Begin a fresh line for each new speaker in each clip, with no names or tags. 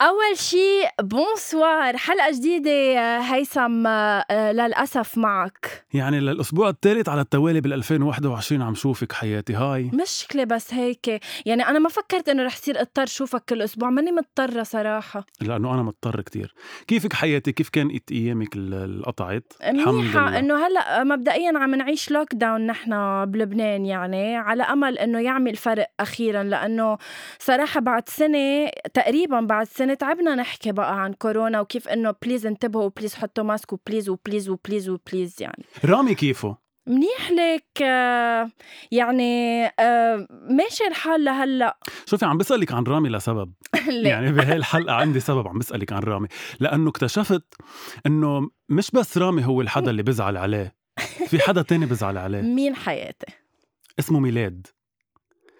أول شيء بونسوار حلقة جديدة آه، هيثم آه، آه، للأسف معك
يعني للاسبوع الثالث على التوالي بال 2021 عم شوفك حياتي هاي
مشكلة بس هيك يعني أنا ما فكرت إنه رح يصير اضطر شوفك كل أسبوع ماني مضطرة صراحة
لانه انا مضطر كتير كيفك حياتي كيف كانت ايامك ال- اللي قطعت
منيحة إنه هلا مبدئيا عم نعيش لوك داون نحن بلبنان يعني على أمل إنه يعمل فرق أخيرا لأنه صراحة بعد سنة تقريبا بعد سنة تعبنا نحكي بقى عن كورونا وكيف إنه بليز انتبهوا وبليز حطوا ماسك وبليز وبليز وبليز وبليز يعني
رامي كيفه
منيح لك آه، يعني آه، ماشي الحال لهلا
شوفي عم بسالك عن رامي لسبب
ليه؟
يعني بهاي الحلقه عندي سبب عم بسالك عن رامي لانه اكتشفت انه مش بس رامي هو الحدا اللي بزعل عليه في حدا تاني بزعل عليه
مين حياتي
اسمه ميلاد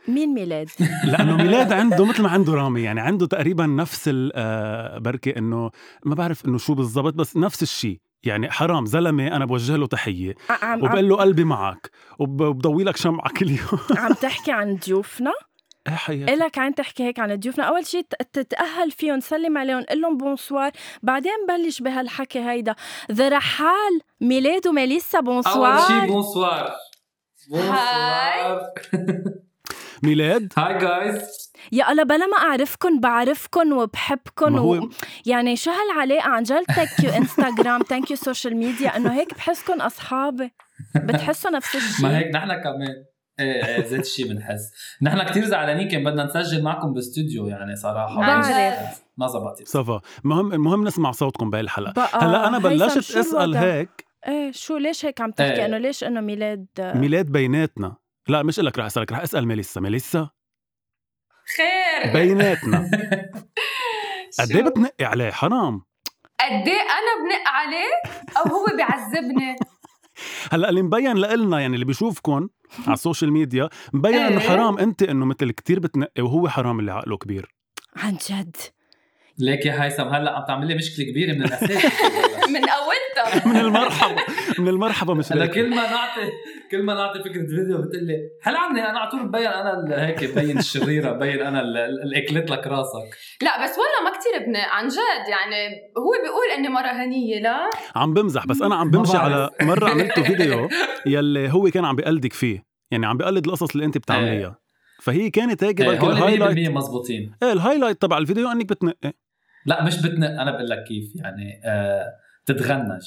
مين ميلاد
لانه ميلاد عنده مثل ما عنده رامي يعني عنده تقريبا نفس ال- آه، بركي انه ما بعرف انه شو بالضبط بس نفس الشيء يعني حرام زلمه انا بوجه له تحيه
ع- عم عم,
وبقول له قلبي معك وب- وبضوي لك شمعه كل يوم
عم تحكي عن ضيوفنا
إيه حياتي
إلك عين تحكي هيك عن ضيوفنا أول شيء تتأهل فيهم سلم عليهم قل لهم بونسوار بعدين بلش بهالحكي هيدا ذا رحال ميلاد وميليسا
اول
بونسوار
شيء بونسوار بونسوار
ميلاد
هاي جايز
يا الله بلا ما أعرفكن بعرفكن وبحبكن
ما هو-
و... يعني شو هالعلاقة عن جد ثانك يو انستغرام ثانك يو سوشيال ميديا إنه هيك بحسكن أصحابي بتحسوا نفس
ما
الشيء
هيك نحن كمان ايه ايه زيت الشيء بنحس نحن كثير زعلانين كان بدنا نسجل معكم باستوديو يعني صراحه
بعرف.
ما زبطت
صفا المهم المهم نسمع صوتكم بهالحلقه
بقى
هلا
آه،
انا
هيثم،
بلشت
شو
اسال
الوضع؟
هيك
ايه شو ليش هيك عم تحكي
إيه.
انه ليش انه ميلاد
ميلاد بيناتنا لا مش لك رح اسالك رح اسال ميليسا ميليسا
خير
بيناتنا قد ايه
شو؟
بتنقي عليه حرام
قد ايه انا بنق عليه او هو بيعذبني
هلا اللي مبين لنا يعني اللي بيشوفكم على السوشيال ميديا مبين انه
إيه.
حرام انت انه مثل كتير بتنقي وهو حرام اللي عقله كبير
عن جد
ليك يا هيثم هلا عم تعمل لي مشكله كبيره من الاساس
من اولتها
من المرحبا من المرحبا مش
انا
لك
كل ما نعطي كل ما نعطي فكره فيديو بتقول لي هل عني انا على طول مبين انا ال- هيك مبين الشريره مبين انا ال- ال- اللي اكلت لك راسك
لا بس والله ما كتير بنق عن جد يعني هو بيقول اني مرة هنية لا
عم بمزح بس انا عم بمشي
ما بعرف.
على مره عملت فيديو يلي هو كان عم بقلدك فيه يعني عم بقلد القصص اللي انت بتعمليها فهي كانت هيك
إيه،
بركي
هول 100%
الهايلايت
مزبوطين
ايه الهايلايت تبع الفيديو انك بتنقي
لا مش بتنق انا بقول لك كيف يعني آه تتغنج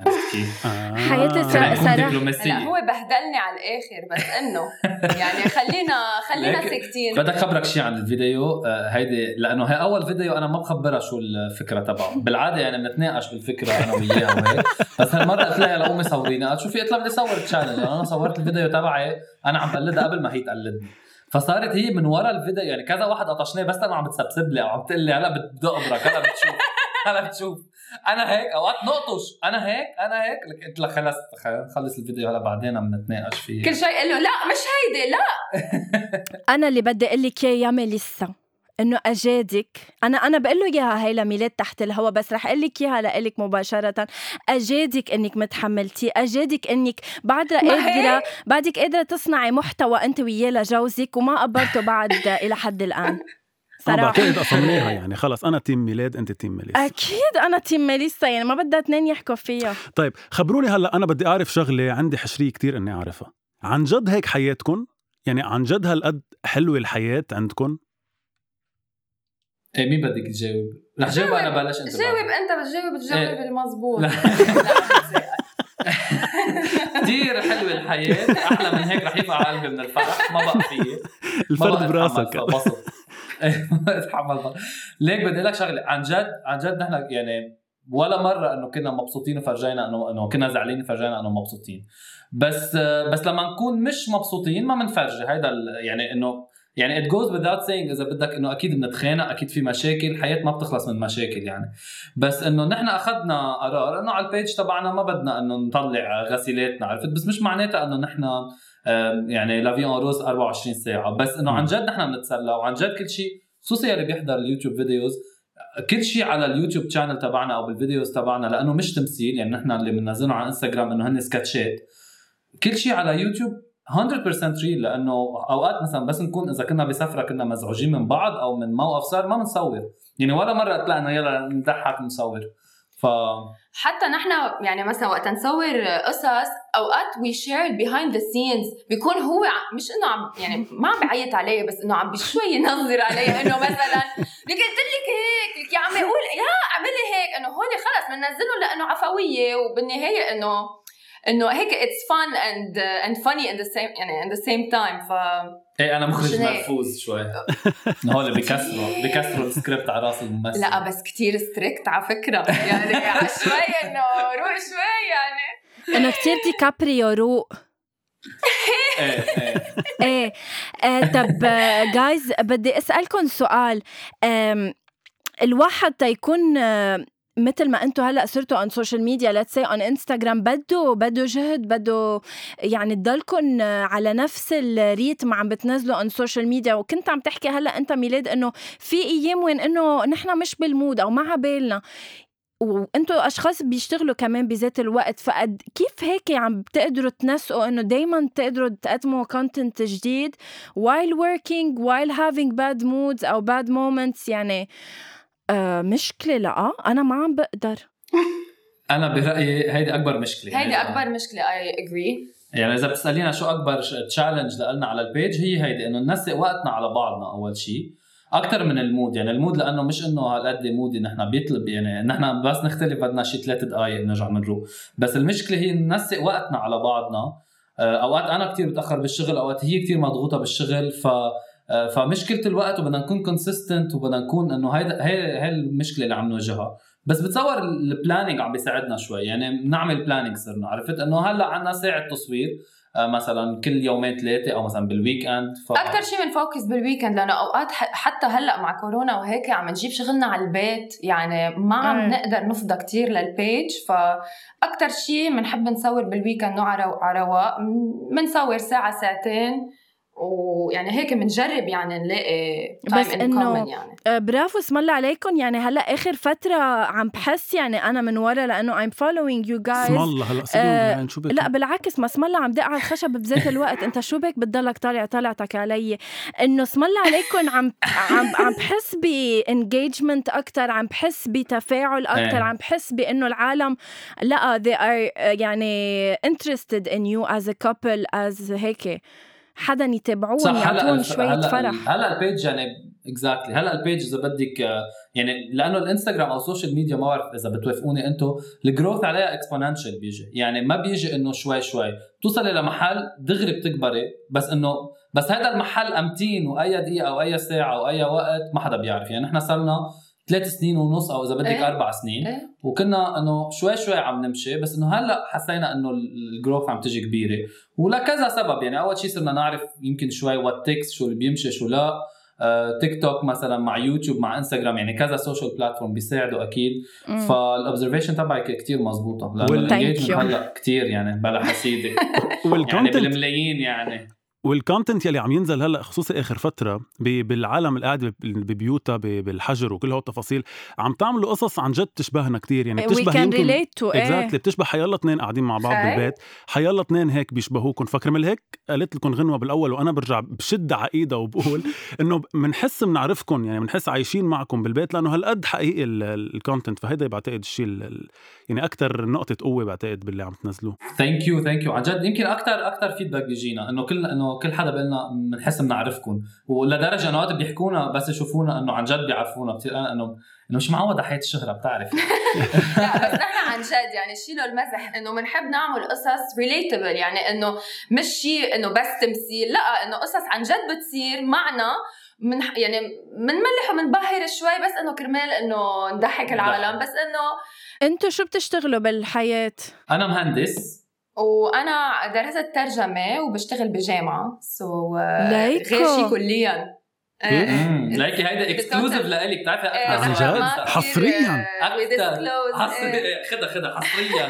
عرفت كيف؟
آه.
حياتي
كمان
سرح-
تكون
صراحة-
دبلوماسية.
هلا هو بهدلني على الاخر بس انه يعني خلينا خلينا
لكن-
ساكتين
بدك خبرك شيء عن الفيديو آه، هيدي لانه هي اول فيديو انا ما بخبرها شو الفكره تبعه بالعاده يعني بنتناقش بالفكره انا وياها وهيك بس هالمره قلت لها لامي صورينا قالت شو في قلت لها بدي صور تشالنج انا صورت الفيديو تبعي انا عم بقلدها قبل ما هي تقلدني فصارت هي من ورا الفيديو يعني كذا واحد قطشناه بس انا عم بتسبسب لي او عم تقول لي هلا بدي ابرك هلا بتشوف هلا بتشوف انا هيك اوقات نقطش انا هيك انا هيك لك- قلت لها خلص خلينا نخلص الفيديو هلا بعدين بنتناقش فيه
كل شيء قال له لا مش هيدي لا
انا اللي بدي اقول لك اياه يا ميليسا انه اجادك انا انا بقول له اياها هي لميلاد تحت الهوا بس رح اقول لك اياها لك مباشره اجادك انك متحملتي اجادك انك بعد
ما هيك؟
قادره بعدك قادره تصنعي محتوى انت وياه لجوزك وما قبرته بعد الى حد الان
انا بعتقد
صراحه
قسمناها يعني خلص انا تيم ميلاد انت تيم ميليسا
اكيد انا تيم ميليسا يعني ما بدها اثنين يحكوا فيها
طيب خبروني هلا انا بدي اعرف شغله عندي حشريه كتير اني اعرفها عن جد هيك حياتكم يعني عن جد هالقد حلوه الحياه عندكم
ايه مين بدك تجاوب؟ رح جاوب انا بلاش انت
جاوب انت بس جاوب الجواب
إيه.
المزبوط
لا.
لا.
كثير حلوه الحياه احلى من هيك رح يطلع قلبي من الفرح ما بقى فيي ما بقى
الفرد براسك
أتحمل فبصل. إيه، ما اتحمل بقى. ليك بدي اقول لك شغله عن جد عن جد نحن يعني ولا مره انه كنا مبسوطين وفرجينا انه انه كنا زعلانين فرجينا انه آه، مبسوطين بس بس لما نكون مش مبسوطين ما بنفرجي هيدا ال- يعني انه يعني it goes without saying اذا بدك انه اكيد بنتخانق اكيد في مشاكل الحياه ما بتخلص من مشاكل يعني بس انه نحن اخذنا قرار انه على البيج تبعنا ما بدنا انه نطلع غسيلاتنا عرفت بس مش معناتها انه نحن آم، يعني لافي اون روز 24 ساعه بس انه
مم.
عن جد نحن بنتسلى وعن جد كل شيء خصوصا يلي بيحضر اليوتيوب فيديوز كل شيء على اليوتيوب تشانل تبعنا او بالفيديوز تبعنا لانه مش تمثيل يعني نحن اللي بننزلهم على انستغرام انه هن سكتشات كل شيء على يوتيوب 100% ريل لانه اوقات مثلا بس نكون اذا كنا بسفره كنا مزعوجين من بعض او من موقف صار ما بنصور يعني ولا مره طلعنا يلا نضحك نصور ف
حتى نحن يعني مثلا وقت نصور قصص اوقات وي شير بيهايند ذا سينز بيكون هو ع- مش انه عم يعني ما عم بعيط علي بس انه عم بشوي ينظر علي انه مثلا لك قلت لك هيك لك يا عمي قول لا اعملي هيك انه هون خلص بننزله لانه عفويه وبالنهايه انه انه هيك اتس فان اند اند فاني ان ذا سيم يعني ان ذا سيم تايم ف
ايه انا مخرج
شنو هيك؟
مرفوز شوي هول بكسروا بكسروا السكريبت على راس الممثل
لا بس كتير ستريكت على فكره يعني على شوي انه روق شوي يعني
انه كثير ديكابريو روق
ايه ايه
ايه آه، طب جايز بدي اسالكم سؤال آم، الواحد تيكون آه، مثل ما انتم هلا صرتوا اون سوشيال ميديا ليتس سي اون انستغرام بده بده جهد بده يعني تضلكم على نفس الريتم عم بتنزلوا اون سوشيال ميديا وكنت عم تحكي هلا انت ميلاد انه في ايام وين انه نحن مش بالمود او ما عبالنا وانتوا اشخاص بيشتغلوا كمان بذات الوقت فقد كيف هيك عم بتقدروا تنسقوا انه دائما تقدروا تقدموا كونتنت جديد while working while having bad moods او bad moments يعني آه مشكله لا انا ما عم بقدر
انا برايي هيدي اكبر مشكله
هيدي
يعني.
اكبر مشكله اي اجري
يعني اذا بتسالينا شو اكبر تشالنج لنا على البيج هي هيدي انه ننسق وقتنا على بعضنا اول شيء اكثر من المود يعني المود لانه مش انه هالقد مودي نحن بيطلب يعني نحن بس نختلف بدنا شي ثلاث دقائق نرجع بنروح بس المشكله هي ننسق وقتنا على بعضنا آه، اوقات انا كتير بتاخر بالشغل اوقات هي كتير مضغوطه بالشغل ف آه، فمشكله الوقت وبدنا نكون كونسيستنت وبدنا نكون انه هيدا هي هي المشكله اللي عم نواجهها بس بتصور البلاننج عم بيساعدنا شوي يعني بنعمل بلاننج صرنا عرفت انه هلا عنا ساعه تصوير آه، مثلا كل يومين ثلاثه او مثلا بالويك اند ف...
اكثر شيء بنفوكس بالويكند لانه اوقات ح- حتى هلا مع كورونا وهيك عم نجيب شغلنا على البيت يعني ما
إيه.
عم نقدر نفضى كتير للبيج فاكثر شيء بنحب نصور بالويكند نوع على على رواق م- بنصور ساعه ساعتين ويعني هيك بنجرب يعني نلاقي
بس
time in
إنه-
common يعني
آه، برافو اسم الله عليكم يعني هلا اخر فتره عم بحس يعني انا من ورا لانه I'm following you
اسم
guys
الله هلا صدقهم
آه،
بالعين، شو بك
لا بالعكس ما اسم الله عم دق على الخشب بذات الوقت انت شو بك بتضلك طالع طلعتك علي انه اسم الله عليكم عم عم عم بحس بانجيجمنت اكثر عم بحس بتفاعل اكثر
إيه.
عم بحس بانه العالم لا they are آه، يعني interested in you as a couple as هيك حدا يتابعون يعطون
الف-
شوية فرح
هلا البيج يعني اكزاكتلي exactly. هلا البيج اذا بدك آه، يعني لانه الانستغرام او السوشيال ميديا ما بعرف اذا بتوافقوني انتم الجروث عليها اكسبوننشال بيجي يعني ما بيجي انه شوي شوي توصلي لمحل دغري بتكبري بس انه بس هذا المحل امتين واي دقيقه او اي ساعه او اي وقت ما حدا بيعرف يعني نحن صرنا ثلاث سنين ونص او اذا بدك
إيه.
اربع سنين
إيه.
وكنا انه شوي شوي عم نمشي بس انه هلا حسينا انه الجروث عم تجي كبيره ولكذا سبب يعني اول شيء صرنا نعرف يمكن شوي وات تكس شو اللي بيمشي شو لا آه، تيك توك مثلا مع يوتيوب مع انستغرام يعني كذا سوشيال بلاتفورم بيساعدوا اكيد
مم.
فالاوبزرفيشن تبعك كتير مزبوطه
وال-
لانه
Thank
الانجيجمنت
you.
هلا كتير يعني بلا حسيده يعني
والكونتنت
بالملايين يعني
والكونتنت يلي عم ينزل هلا خصوصي اخر فتره ب- بالعالم القاعده بب- ببيوتها ب- بالحجر وكل هالتفاصيل عم تعملوا قصص عن جد بتشبهنا كتير يعني
we
بتشبه
can
يمكن
relate to ايه
اكزاكتلي بتشبه حيالله اثنين قاعدين مع بعض
صحيح.
بالبيت حيالله اثنين هيك بيشبهوكم فكرمال هيك قالت لكم غنوه بالاول وانا برجع بشد على ايدها وبقول انه بنحس بنعرفكم يعني بنحس عايشين معكم بالبيت لانه هالقد حقيقي الكونتنت فهيدا بعتقد الشيء ال- ال- يعني اكثر نقطه قوه بعتقد باللي عم تنزلوه
ثانك يو ثانك يو عن جد يمكن اكثر اكثر فيدباك بيجينا انه كل انه كل حدا بيقلنا بنحس بنعرفكم ولدرجه انه وقت بيحكونا بس يشوفونا انه عن جد بيعرفونا كثير انه انه مش معود على حياه الشهره بتعرف
لا بس نحن عن جد يعني شيلوا المزح انه بنحب نعمل قصص ريليتبل يعني انه مش شيء انه بس تمثيل لا انه قصص عن جد بتصير معنا من يعني بنملح وبنبهر شوي بس انه كرمال انه نضحك العالم بس انه
انتو شو بتشتغلوا بالحياة
انا مهندس
وانا درست ترجمه وبشتغل بجامعه سو
ليكو.
آه، غير شي كليا
إيه؟
مم. ليكي هيدا اكسكلوزيف لإلك بتعرفي
آه،
إيه،
عن جد؟
اكثر ما بنسى.
حصرياً.
أكتر. حصري إيه، خدها خدها حصريا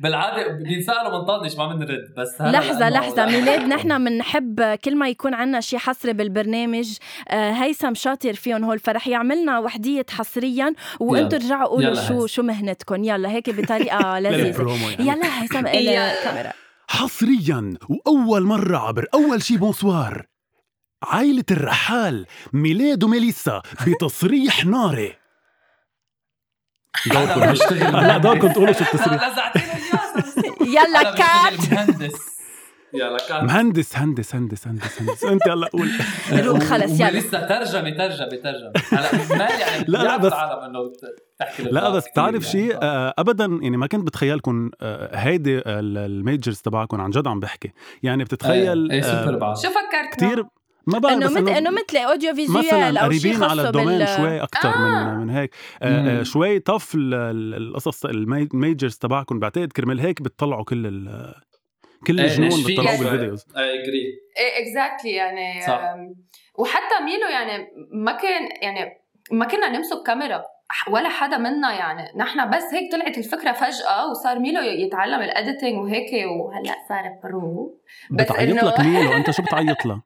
بالعاده بينسالوا بنطنش ما بنرد بس هلا
لحظة
لأنه-
لحظة ميلاد نحن بنحب كل ما يكون عنا شي حصري بالبرنامج آه، هيثم شاطر فيهم هول فرح يعملنا وحدية حصريا وانتم
يلا.
رجعوا قولوا
يلا
شو
هيثم.
شو مهنتكم يلا هيك بطريقة لذيذة
للبرومو يعني
يلا هيثم
يلا.
الى الكاميرا
حصريا واول مره عبر اول شي بونسوار عائلة الرحال ميلاد وميليسا بتصريح ناري دوركم
أنا بشتغل
هلا دوركم تقولوا شو التصريح
لزعتيني إياها.
يلا
أنا بشتغل
كات
مهندس يلا كات
مهندس هندس هندس هندس هندس انت هلا قول
روح خلص، يلا.
لسه ترجمه ترجمه ترجمه هلا ما يعني
لا، لا،
بيعرف
بس-
العالم انه ت- تحكي
لا
للناس
بس
كتير
تعرف
يعني.
شيء آه، ابدا يعني ما كنت بتخيلكم آه، هيدي ال- الميجرز تبعكم عن جد عم بحكي يعني بتتخيل
ايه إيه،
آه،
سوبر بعض
شو فكرت
كتير ما بعرف
انه
بس
مثل انه مثل اوديو فيزيوال
مثلا
او شي
قريبين على
خاصه
الدومين
بال
شوي اكثر آه.
آه.
من من هيك آه آه
مم.
شوي طف ال- ال- القصص المي- الميجرز تبعكم بعتقد كرمال هيك بتطلعوا كل ال كل
إيه،
الجنون
إيش في
بتطلعوا
شوي.
بالفيديوز
اي اجري
ايه اكزاكتلي يعني
صح.
أم، وحتى ميلو يعني ما كان يعني ما كنا نمسك كاميرا ح- ولا حدا منا يعني نحن بس هيك طلعت الفكره فجاه وصار ميلو ي- يتعلم الاديتنج وهيك وهلا صار برو بس
بتعيط
إنه-
لك مين وانت شو بتعيط لها؟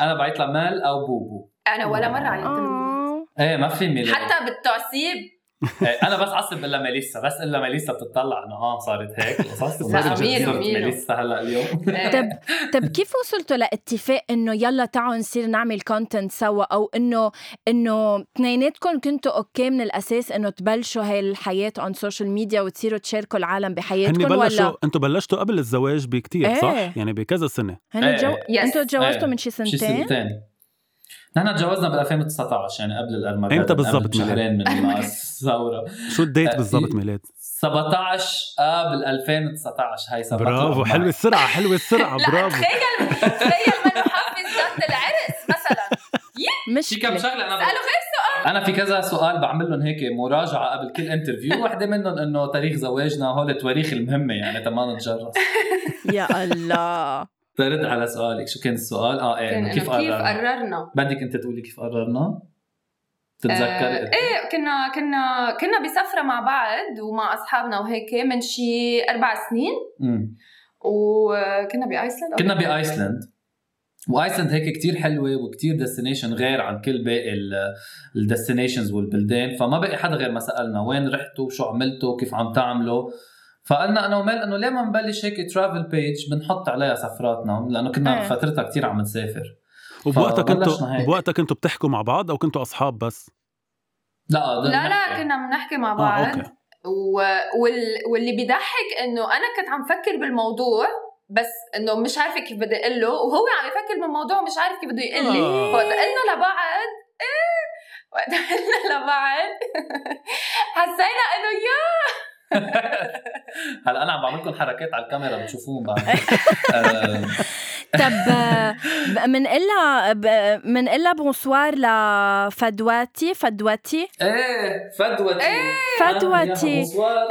انا بعيط لها مال او بوبو
انا ولا مره عيطت له.
آه.
ايه ما في ميلاد
حتى بالتعصيب
إيه، انا بس عصب الا ميليسا بس الا ميليسا بتطلع انه اه صارت هيك قصص
لا،
صارت
ميلو،
صارت
ميلو.
ميليسا هلا اليوم
إيه.
طب طب كيف وصلتوا لاتفاق انه يلا تعالوا نصير نعمل كونتنت سوا او انه انه اثنيناتكم كنتوا اوكي من الاساس انه تبلشوا هاي الحياه اون سوشيال ميديا وتصيروا تشاركوا العالم
هن
بحياتكم ولا
بلشوا انتوا بلشتوا قبل الزواج بكتير
إيه.
صح؟ يعني بكذا سنه
هن
إيه.
جو...
Yes.
انتوا تجوزتوا
إيه.
من شي
شي
سنتين
سنتين نحن تجوزنا بال 2019 يعني قبل الارمغداد
إمتى بالضبط
قبل شهرين من ما الثوره
شو الديت
آه،
بالضبط
إيه.
ميلاد؟
17 اب 2019 هي سبعة
برافو
الأربعاء.
حلوه السرعه حلوه السرعه
لا
برافو
تخيل تخيل ما نحفز ذات العرس مثلا
في كم
مشكله
شغله انا بقول-
سالوا غير
انا في كذا سؤال بعمل لهم هيك مراجعه قبل كل انترفيو وحده منهم انه تاريخ زواجنا هول التواريخ المهمه يعني تما نتجرس
يا الله
ترد على سؤالك شو كان السؤال اه ايه
كان
إنه
إنه آه،
كيف قررنا
قررنا
بدك انت تقولي كيف قررنا تتذكري
آه، ايه كنا كنا كنا بسفره مع بعض ومع اصحابنا وهيك من شي اربع سنين
مم.
وكنا بايسلند
كنا بايسلند وايسلند هيك كتير حلوه وكتير ديستنيشن غير عن كل باقي الديستنيشنز والبلدان فما بقي حدا غير ما سالنا وين رحتوا شو عملتوا كيف عم تعملوا فقلنا انا ومال انه ليه ما نبلش هيك ترافل بيج بنحط عليها سفراتنا لانه كنا
إيه.
فترتها كتير عم نسافر
وبوقتها
فبلشنا
كنتوا
هيك.
بوقتها كنتوا بتحكوا مع بعض او كنتوا اصحاب بس؟
لا آه،
لا لا كنا بنحكي مع بعض
آه، أوكي.
و... وال... واللي بيضحك انه انا كنت عم فكر بالموضوع بس انه مش عارفه كيف بدي اقول له وهو عم يفكر بالموضوع ومش عارف كيف بده يقول لي
آه.
فوقت قلنا لبعض ايه وقت قلنا لبعض حسينا انه يا
هلا انا عم بعمل لكم حركات على الكاميرا بتشوفوهم بعد
إيه.
آه،
طب آه، منقلها منقلها بونسوار لفدواتي فدواتي
ايه فدوتي ايه
إيه، فدوتي.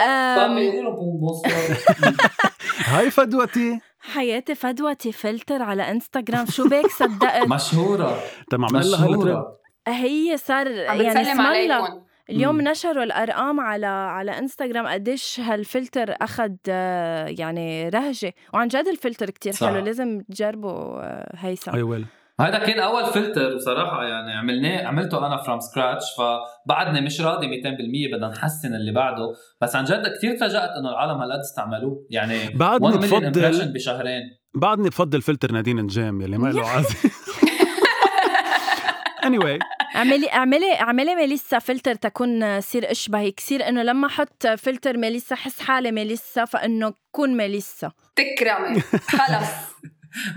أم.
هاي فدوتي
حياتي فدوتي فلتر على انستغرام شو بك صدقت
مشهورة
تم عمل لها هالترند.
مشهورة
هي صار
عم
يعني
بتسلم
اسم الله
عليكم
اليوم
مم.
نشروا الارقام على على انستغرام قديش هالفلتر اخذ آه، يعني رهجه وعن جد الفلتر كتير
صح. أيوة.
حلو لازم تجربوا آه، هيثم
اي ويل
هذا كان اول فلتر وصراحة يعني عملناه عملته انا فروم سكراتش فبعدنا مش راضي 200% بدنا نحسن اللي بعده بس عن جد كثير تفاجأت انه العالم هالقد استعملوه يعني
بعدني
1 million
بفضل-
impression بشهرين
بعدني بفضل فلتر نادين نجام يلي ما له عازي anyway
اعملي اعملي اعملي ميليسا فلتر تكون صير اشبهك صير انه لما احط فلتر ميليسا حس حالي ميليسا فانه كون ميليسا
تكرمي خلص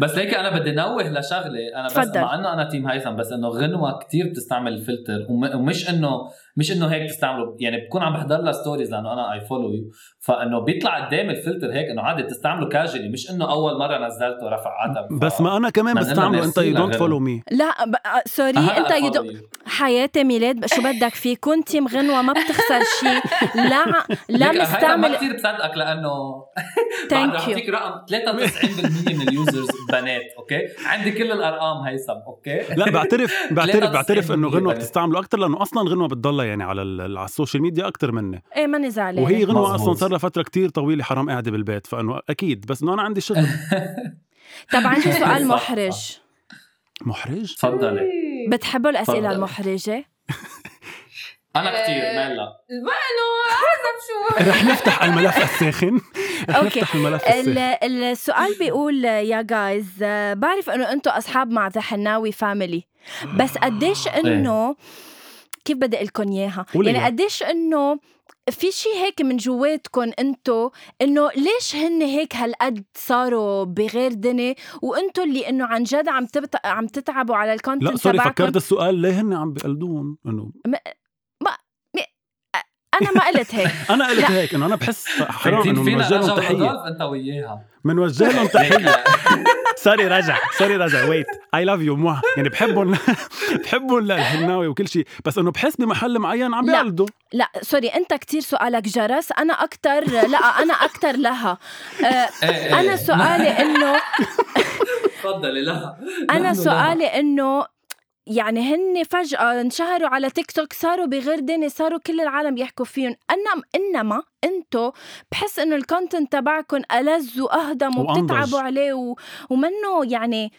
بس هيك انا بدي نوه لشغله انا بس
تفضل.
مع انه انا تيم هيثم بس انه غنوه كتير بتستعمل الفلتر وم- ومش انه مش انه هيك تستعمله يعني بكون عم بحضر لها ستوريز لانه انا اي فولو يو فانه بيطلع قدام الفلتر هيك انه عادي تستعمله كاجلي مش انه اول مره نزلته رفع عتب
بس ما انا كمان
ما أنا
بستعمله انت
ناسي
يو دونت
لغيره.
فولو مي
لا ب... آه، سوري انت يدق
يدق
حدا حياتي ميلاد شو بدك فيه كنتي مغنوة ما بتخسر شيء لا لا
ليك هيدا ما
مستعمل
كثير بصدقك لانه بعد
ثانك
رح
يو
اعطيك رقم 93% من اليوزرز بنات اوكي عندي كل الارقام هيثم اوكي
لا بعترف بعترف
93%
بعترف انه غنوه
بنات.
بتستعمله اكثر لانه اصلا غنوه بتضلها يعني على ال- على السوشيال ميديا اكثر مني
ايه ماني زعلانة
وهي غنوه اصلا
مظبوط.
صار لها فتره كثير طويله حرام قاعده بالبيت فانه اكيد بس انه انا عندي شغل
طب عندي سؤال
صح.
محرج
محرج
تفضلي
بتحبوا الاسئلة
تفضلي.
المحرجة؟
انا كثير
إيه.
مالا
ما انه حسب شو
رح نفتح الملف الساخن رح
أوكي.
نفتح الملف
ال-
الساخن
ال- السؤال بيقول يا جايز بعرف انه انتم اصحاب مع ذا حناوي فاميلي بس قديش انه كيف بدي اقول لكم اياها؟
إيه. قولي
يعني
لي.
قديش انه في شيء هيك من جواتكم انتو انه ليش هن هيك هالقد صاروا بغير دني وانتو اللي انه عن جد عم تبت... عم تتعبوا على
لا
الكونتنت
سوري
تبعكم
فكرت السؤال ليه هن عم بيقلدون انه
انا ما قلت هيك
انا قلت هيك انه انا بحس حرام
كتير
انه
فينا
بنوجه لهم
نرجع
تحيه
للغرف انت وياها
بنوجه لهم تحيه سوري رجع سوري رجع ويت اي لاف يو موا يعني بحبهم بحبهم للهناوي وكل شيء بس انه بحس بمحل معين عم
لا.
بيقلدوا
لا سوري انت كتير سؤالك جرس انا اكتر لا انا اكتر لها آه، انا سؤالي انه
تفضلي لا نعم.
انا سؤالي انه يعني هن فجأة انشهروا على تيك توك صاروا بغير ديني صاروا كل العالم يحكوا فيهم أنا إنما انتو بحس إنه الكونتنت تبعكم ألذ وأهضم
وأنضج.
وبتتعبوا عليه و... ومنه يعني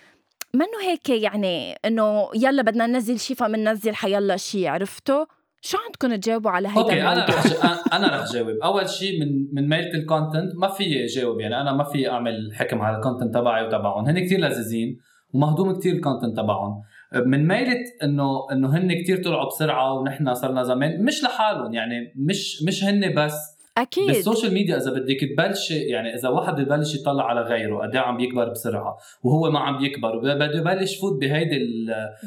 منه هيك يعني إنه يلا بدنا ننزل شي فمننزل حيلا شي عرفتوا؟ شو عندكم تجاوبوا على هيدا
اوكي انا
الموضوع؟
رح ج- أنا- انا رح جاوب اول شيء من من ميله الكونتنت ما في جاوب يعني انا ما في اعمل حكم على الكونتنت تبعي وتبعهم هن كثير لذيذين ومهضوم كثير الكونتنت تبعهم من ميله انه انه هن كثير طلعوا بسرعه ونحن صرنا زمان مش لحالهم يعني مش مش هن بس
أكيد
بالسوشيال ميديا اذا بدك تبلش يعني اذا واحد ببلش يطلع على غيره قد إيه عم بيكبر بسرعه وهو ما عم بيكبر وب- بده يبلش يفوت بهيدي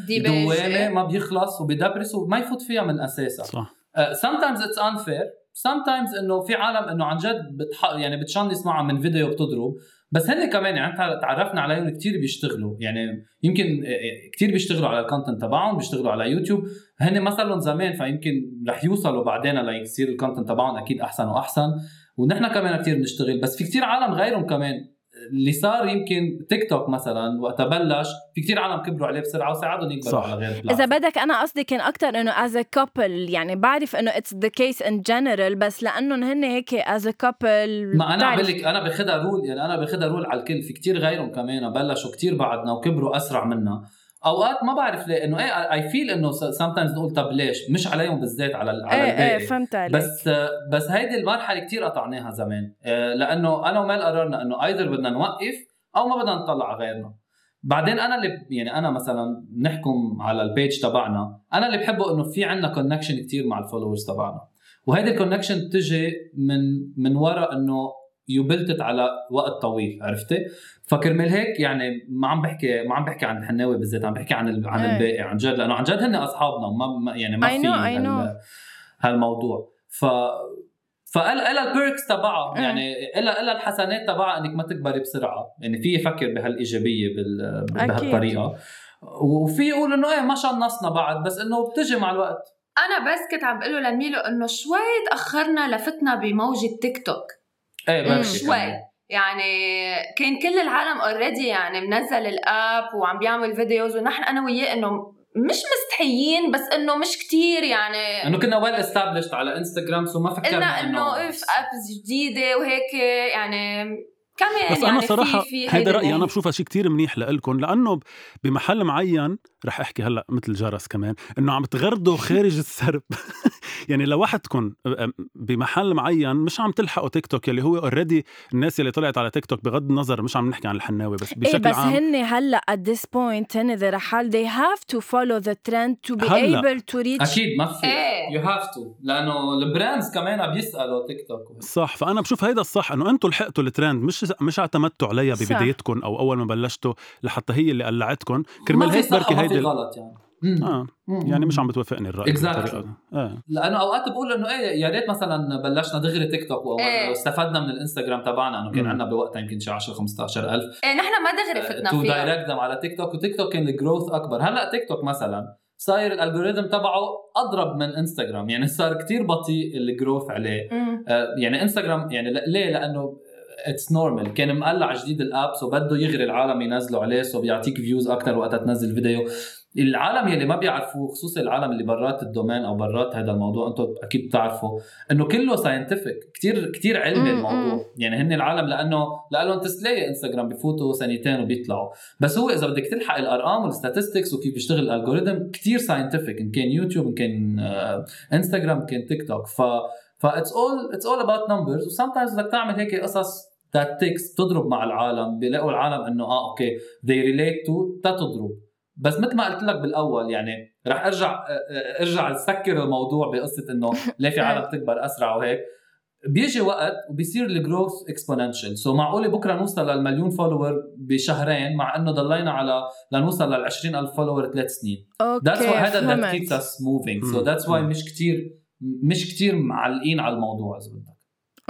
إيه.
الدوامه ما بيخلص وبدبرس وما يفوت فيها من اساسها
صح
Uh, sometimes it's unfair sometimes انه في عالم انه عن جد بتح... يعني بتشنص معها من فيديو بتضرب بس هن كمان يعني تع- تعرفنا عليهم كتير بيشتغلوا يعني يمكن آه، كتير بيشتغلوا على الكونتنت تبعهم بيشتغلوا على يوتيوب هن ما صار لهم زمان فيمكن رح يوصلوا بعدين ليصير الكونتنت تبعهم اكيد احسن واحسن ونحن كمان كتير بنشتغل بس في كتير عالم غيرهم كمان اللي صار يمكن تيك توك مثلا وقت بلش في كتير عالم كبروا عليه بسرعه وساعدهم يكبروا
صح.
على غير
اذا
البلاتفورم.
بدك انا قصدي كان اكثر انه از ا كابل يعني بعرف انه اتس ذا كيس ان جنرال بس لانهم هن هيك از ا كابل
ما انا عم بقول لك انا باخذها رول يعني انا باخذها رول على الكل في كتير غيرهم كمان بلشوا كتير بعدنا وكبروا اسرع منا اوقات ما بعرف ليه انه ايه اي فيل انه سام تايمز نقول طب ليش مش عليهم بالذات على ال- على
ايه ايه
الباقي
فهمت عليك
بس بس هيدي المرحله كتير قطعناها زمان آه، لانه انا ومال قررنا انه ايذر بدنا نوقف او ما بدنا نطلع على غيرنا بعدين انا اللي ب- يعني انا مثلا نحكم على البيج تبعنا انا اللي بحبه انه في عندنا كونكشن كتير مع الفولورز تبعنا وهيدي الكونكشن بتجي من من وراء انه يبلتت على وقت طويل عرفتي فكرمال هيك يعني ما عم بحكي ما عم بحكي عن الحناوي بالذات عم بحكي عن ال- عن
إيه.
الباقي عن جد لانه عن جد هن اصحابنا ما ما- يعني ما
I
في
know, I know.
هال- هالموضوع ف فقال إلها البيركس تبعها
إيه.
يعني إلها إلها الحسنات تبعها انك ما تكبري بسرعه يعني في يفكر بهالايجابيه بال...
أكيد.
بهالطريقه وفي يقول انه ايه ما شنصنا بعد بس انه بتجي مع الوقت
انا بس كنت عم بقول له لميلو انه شوي تاخرنا لفتنا بموجه تيك توك
ايه
مم.
بركي
شوي.
كمان.
يعني كان كل العالم اوريدي يعني منزل الاب وعم بيعمل فيديوز ونحن انا وياه انه مش مستحيين بس انه مش كتير يعني
انه كنا ويل استابلشت على انستغرام سو ما
قلنا
فكرنا
انه اف ابس جديده وهيك يعني كمان
بس
يعني
انا صراحه
في في
هيدا
هيدا
رايي انا
يعني.
النوع.
بشوفها شيء كتير منيح لإلكم لانه ب- بمحل معين رح احكي هلا مثل جرس كمان انه عم تغردوا خارج السرب يعني لوحدكم أم- بمحل معين مش عم تلحقوا تيك توك يلي هو اوريدي الناس يلي طلعت على تيك توك بغض النظر مش عم نحكي عن الحناوي
إيه،
بس
ايه
بشكل
بس
عام
هن هلا at this point هن ذا رحال they have to follow the trend to be
هلأ.
able to reach
اكيد ما في
إيه.
يو هاف تو لانه البراندز كمان عم يسالوا تيك توك
صح فانا بشوف هيدا الصح انه انتم لحقتوا الترند مش مش اعتمدتوا عليها
صح.
ببدايتكم او اول ما بلشتوا لحتى هي اللي قلعتكم
ما
كرمال
في
هيك
صح
بركي
وما في
هيدي
غلط يعني مم.
اه
مم.
يعني مش عم بتوافقني الراي
Exactly.
بالطريقة. اه
لانه اوقات بقول انه ايه يا ريت مثلا بلشنا دغري تيك توك
إيه.
واستفدنا من الانستغرام تبعنا انه كان
مم.
عندنا بوقتها يمكن شي 10 15000
آه،
إيه، نحن ما دغري فتنا
تو
فيها
دايركت على تيك توك وتيك توك كان الجروث اكبر هلا تيك توك مثلا صاير الالجوريثم تبعه اضرب من انستغرام يعني صار كتير بطيء الجروث عليه
مم.
آه، يعني انستغرام يعني ل- ليه لانه اتس نورمال كان مقلع جديد الاب سو بده يغري العالم ينزلوا عليه سو بيعطيك فيوز اكثر وقتها تنزل فيديو العالم يلي ما بيعرفوا خصوصا العالم اللي برات الدومين او برات هذا الموضوع انتم اكيد بتعرفوا انه كله ساينتفك كتير كتير علمي
مم، مم.
الموضوع يعني هن العالم لانه لهم تسليه انستغرام بفوتوا سنتين وبيطلعوا بس هو اذا بدك تلحق الارقام والستاتستكس وكيف بيشتغل الالجوريثم كتير ساينتفك ان كان يوتيوب ان كان آه، انستغرام ان كان تيك توك ف فا اتس اول اتس اول اباوت نمبرز وسمتايمز بدك تعمل هيك قصص تاكتكس بتضرب مع العالم بيلاقوا العالم انه اه اوكي they relate to تتضرب بس مثل ما قلت لك بالاول يعني رح ارجع آه، آه، ارجع سكر الموضوع بقصه انه ليه في عالم تكبر اسرع وهيك بيجي وقت وبيصير الجروث اكسبوننشال سو معقوله بكره نوصل للمليون فولور بشهرين مع انه ضلينا على لنوصل لل 20000 فولور ثلاث سنين
اوكي
That's why هذا that
فهمت.
keeps us moving so
مم.
that's why
مم.
مش كتير مش كتير معلقين على الموضوع إذا بدك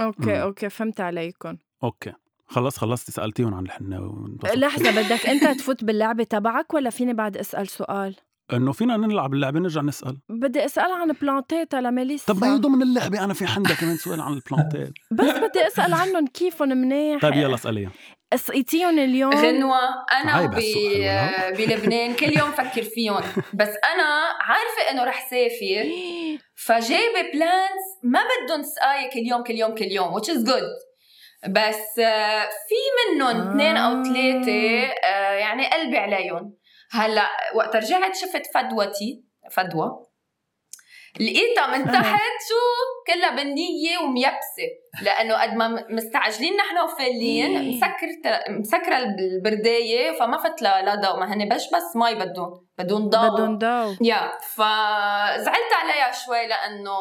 اوكي
مم.
اوكي فهمت عليكم
اوكي خلص خلصتي سالتيهم عن الحناوي وانبسطتي.
لحظه بدك انت تفوت باللعبه تبعك ولا فيني بعد اسال سؤال
انه فينا نلعب اللعبه نرجع نسال
بدي اسال عن بلانتيتا لميليسا
طب ما هي ضمن اللعبه انا في عندها كمان سؤال عن البلانتات
بس بدي اسال عنهم كيفهم منيح
طيب يلا اساليها
سقيتيهم اليوم
غنوة أنا
آه، عيب
ب...
هالسؤال، ها؟
بلبنان كل يوم فكر فيهم بس أنا عارفة إنه رح سافر فجايبة بلانز ما بدهم سقاية كل يوم كل يوم كل يوم which is good بس آه، في منهم
آه.
اثنين أو ثلاثة آه، يعني قلبي عليهم هلا وقت رجعت شفت فدوتي فدوى لقيتها من تحت شو كلها بنية وميبسة لأنه قد ما م- مستعجلين نحن
إيه.
وفالين مسكرة مسكرة البرداية فما فت لها لا ضوء ما هن بش بس مي بدهم بدهم ضوء
بدهم ضو
يا فزعلت عليها شوي لانه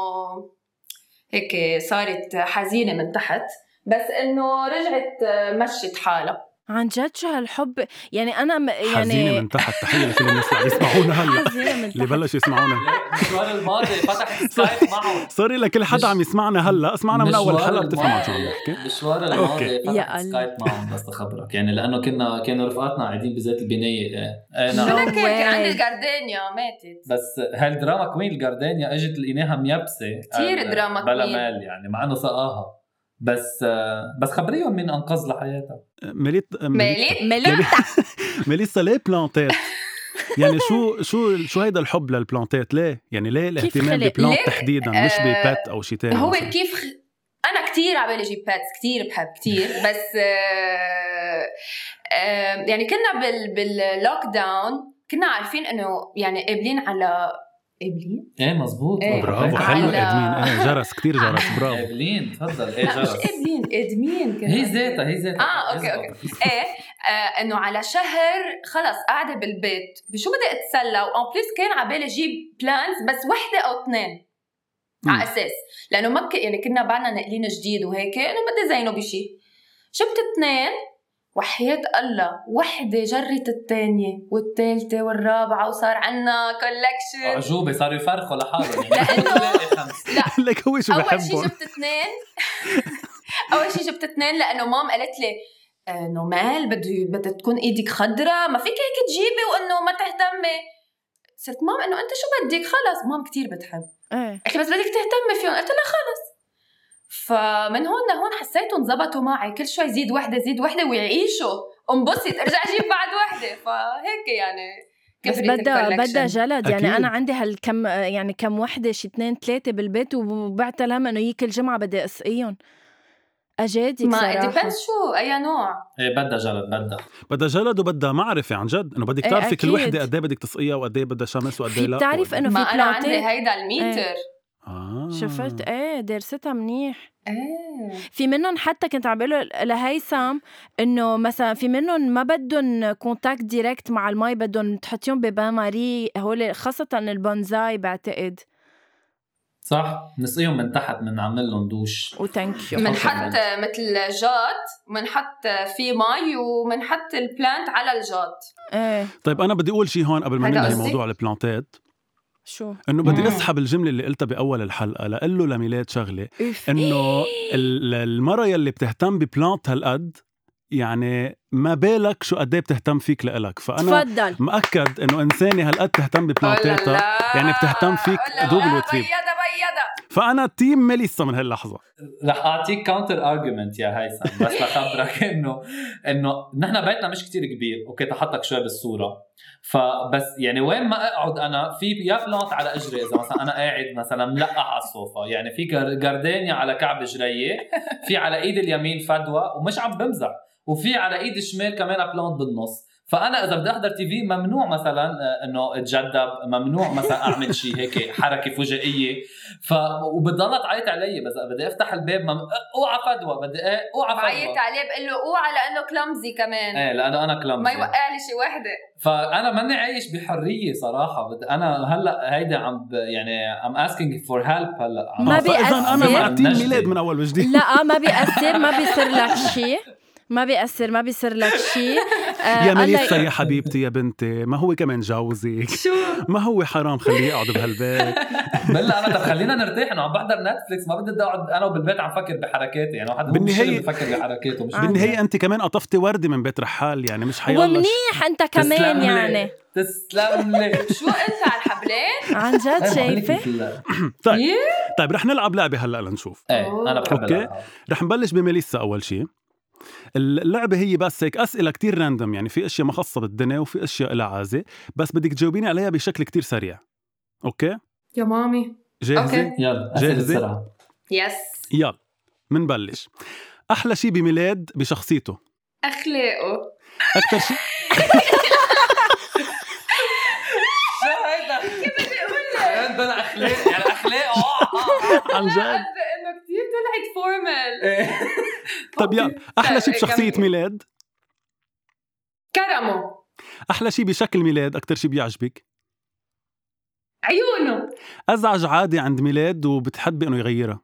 هيك صارت حزينه من تحت بس انه رجعت مشت حالها
عن جد شو هالحب يعني انا م... يعني
حزينه من تحت تحيه لكل الناس اللي عم يسمعونا هلا
حزينة من
اللي
تحت.
بلشوا يسمعونا
المشوار الماضي فتح سكايب معه
سوري لكل
مش-
حدا عم يسمعنا هلا اسمعنا من اول
مشوار
حلقه بتفهم عن
الماضي.
شو عم نحكي
المشوار
أوكي.
الماضي
يا
فتح
الله.
سكايب معهم بس اخبرك يعني لانه كنا كانوا رفقاتنا قاعدين بذات البنايه إيه. إيه،
No
انا
نعم
كان كان عندي
way.
الجاردينيا ماتت
بس هالدراما كوين الجاردانيا اجت لقيناها ميبسه
كتير
قال-
دراما
بلا
كوين.
مال يعني مع انه سقاها بس آه، بس خبريهم من انقذ لحياتها
ميليت ميليت
مالي
مليح
ميليسا ليه بلانتات يعني شو شو شو هيدا الحب للبلانتات ليه يعني ليه الاهتمام
خلق؟
ببلانت
ليه؟
تحديدا مش
آه،
ببات او شيء تاني
هو
مثلاً؟
كيف خ... انا كتير عبالي اجيب باتس كتير بحب كتير بس آه آه يعني كنا بال باللوك داون كنا عارفين انه يعني قابلين على قابلين
ايه مزبوط
إيه.
برافو
على-
حلو ادمين ايه جرس كثير جرس برافو
قابلين تفضل ايه
لا مش
جرس
قابلين ادمين كنا
هي ذاتها هي ذاتها
آه، أوكي، أوكي. ايه آه انه على شهر خلص قاعده بالبيت بشو بدي اتسلى وان بليس كان على بالي اجيب بلانز بس وحده او اثنين
مم.
على اساس لانه ما ك- يعني كنا بعدنا ناقلين جديد وهيك انه بدي زينه بشي جبت اثنين وحياة الله وحدة جرت الثانية والثالثة والرابعة وصار عنا كولكشن
عجوبة صاروا يفرخوا لحالهم يعني.
لأنه-
لأنه
لك هو شو
اول شيء
بحبهم
جبت اثنين اول شيء جبت اثنين لانه مام قالت لي آه، نومال بده بدها تكون ايدك خضرا ما فيك هيك تجيبي وانه ما تهتمي صرت مام انه انت شو بدك خلص مام كتير بتحب
ايه
قالت لي بس بدك تهتمي فيهم قلت لها خلص فمن هون لهون حسيتهم زبطوا معي كل شوي زيد وحده زيد وحده ويعيشوا انبسط ارجع جيب بعد وحده فهيك يعني
بس
كبرت
بدها
الcollection.
بدها جلد يعني
أكيد.
انا عندي هالكم يعني كم وحده شي اثنين ثلاثه بالبيت وبعت الهم انه يي كل جمعه بدي اسقيهم اجادك
ما
صراحه
ديبند شو اي نوع
ايه بدها جلد بدها
بدها جلد وبدها معرفه عن جد انه بدك
إيه،
تعرفي كل
أكيد.
وحده قد ايه بدك تسقيها وقد ايه بدها شمس وقد ايه
في
لا
بتعرف
وقد-
انه
ما
في إيه.
انا عندي
بلانتات
هيدا الميتر
آه.
شفت ايه درستها منيح
ايه
في منهم حتى كنت عم بقول لهيثم انه مثلا في منهم ما بدهم كونتاكت ديركت مع المي بدهم تحطيهم ببان ماري هول خاصه البونزاي بعتقد
صح نسقيهم من تحت بنعمل لهم دوش
وثانك يو
بنحط مثل جات بنحط فيه مي وبنحط البلانت على الجات إيه،
ايه
طيب انا بدي اقول شيء هون قبل ما
هيدا
ننهي
قصدي.
موضوع البلانتات
شو
انه بدي
مم.
اسحب الجمله اللي قلتها باول الحلقه لقول
إيه.
له لميلاد شغله
اوف
انه ال- المره يلي بتهتم ببلانت هالقد يعني ما بالك شو قد إيه بتهتم فيك لإلك فانا
تفضل
مأكد انه انسانه هالقد تهتم ببلانتاتها يعني بتهتم فيك دوبل وتريبل.
بيضة بيضة
فانا تيم ميليسا من هاللحظه
رح اعطيك كاونتر ارجيومنت يا هيثم بس لخبرك انه انه نحن بيتنا مش كتير كبير اوكي تحطك شوي بالصوره فبس يعني وين ما اقعد انا في يا بلانت على اجري اذا مثلا انا قاعد مثلا ملقح على الصوفه يعني في جر- جردانيا على كعب جريي في على ايد اليمين فدوى ومش عم بمزح وفي على ايد الشمال كمان بلانت بالنص فانا اذا بدي احضر تي في ممنوع مثلا آه، انه اتجدب ممنوع مثلا اعمل شيء هيك حركه فجائيه ف وبتضلها تعيط علي بس إذا بدي افتح الباب مم... اوعى فدوى بدي إيه، اوعى
بعيط
فدوى
عليه بقول له اوعى لانه كلمزي كمان
ايه لانه انا كلام
ما يوقع لي شي وحده
فانا ماني عايش بحريه صراحه بد... انا هلا هيدا عم ب... يعني ام asking فور هيلب هلا عم
ما
آه، فإذاً انا مع
بيأثر.
تيم ميلاد من اول وجديد
لا آه، ما بيأثر ما بيصير لك شيء ما بيأثر ما بيصير لك شيء آه،
آه،
يا ميليسا يا حبيبتي يا بنتي ما هو كمان جوزك
شو
ما هو حرام خليه يقعد بهالبيت
بلا انا طب خلينا نرتاح انه عم بحضر نتفليكس ما بدي اقعد انا وبالبيت عم فكر بحركاتي يعني واحد
بالنهاية-
بالنهايه بفكر بحركاته مش
بالنهاية أنت كمان قطفتي وردة من بيت رحال يعني مش حيالله
ومنيح انت كمان
تسلم لي.
يعني
تسلم لي
شو انت على الحبلات؟
عن جد شايفه
طيب
يي.
طيب رح نلعب لعبة هلا لنشوف
ايه انا بحب
أوكي.
الألعاب.
رح نبلش بميليسا أول شيء اللعبة هي بس هيك أسئلة كتير راندوم يعني في أشياء مخصصة بالدنيا وفي أشياء لها عازة بس بدك تجاوبيني عليها بشكل كتير سريع أوكي
يا مامي
جاهزة؟
أوكي.
يلا
جاهزة؟
جاهزة بسرعه
يس
يلا منبلش أحلى شيء بميلاد بشخصيته
اخلاقه
أكثر شيء
شو هيدا؟ كيف بدي اقول لك؟ بلا اخلاق يعني اخلاقه آه، آه، آه.
عن
لا
جد
قصدي انه كثير طلعت فورمال
إيه.
طب يلا أحلى
طيب،
شيء بشخصية
كمل.
ميلاد
كرمه
أحلى شيء بشكل ميلاد أكثر شيء بيعجبك
عيونه
أزعج عادة عند ميلاد وبتحبي إنه يغيرها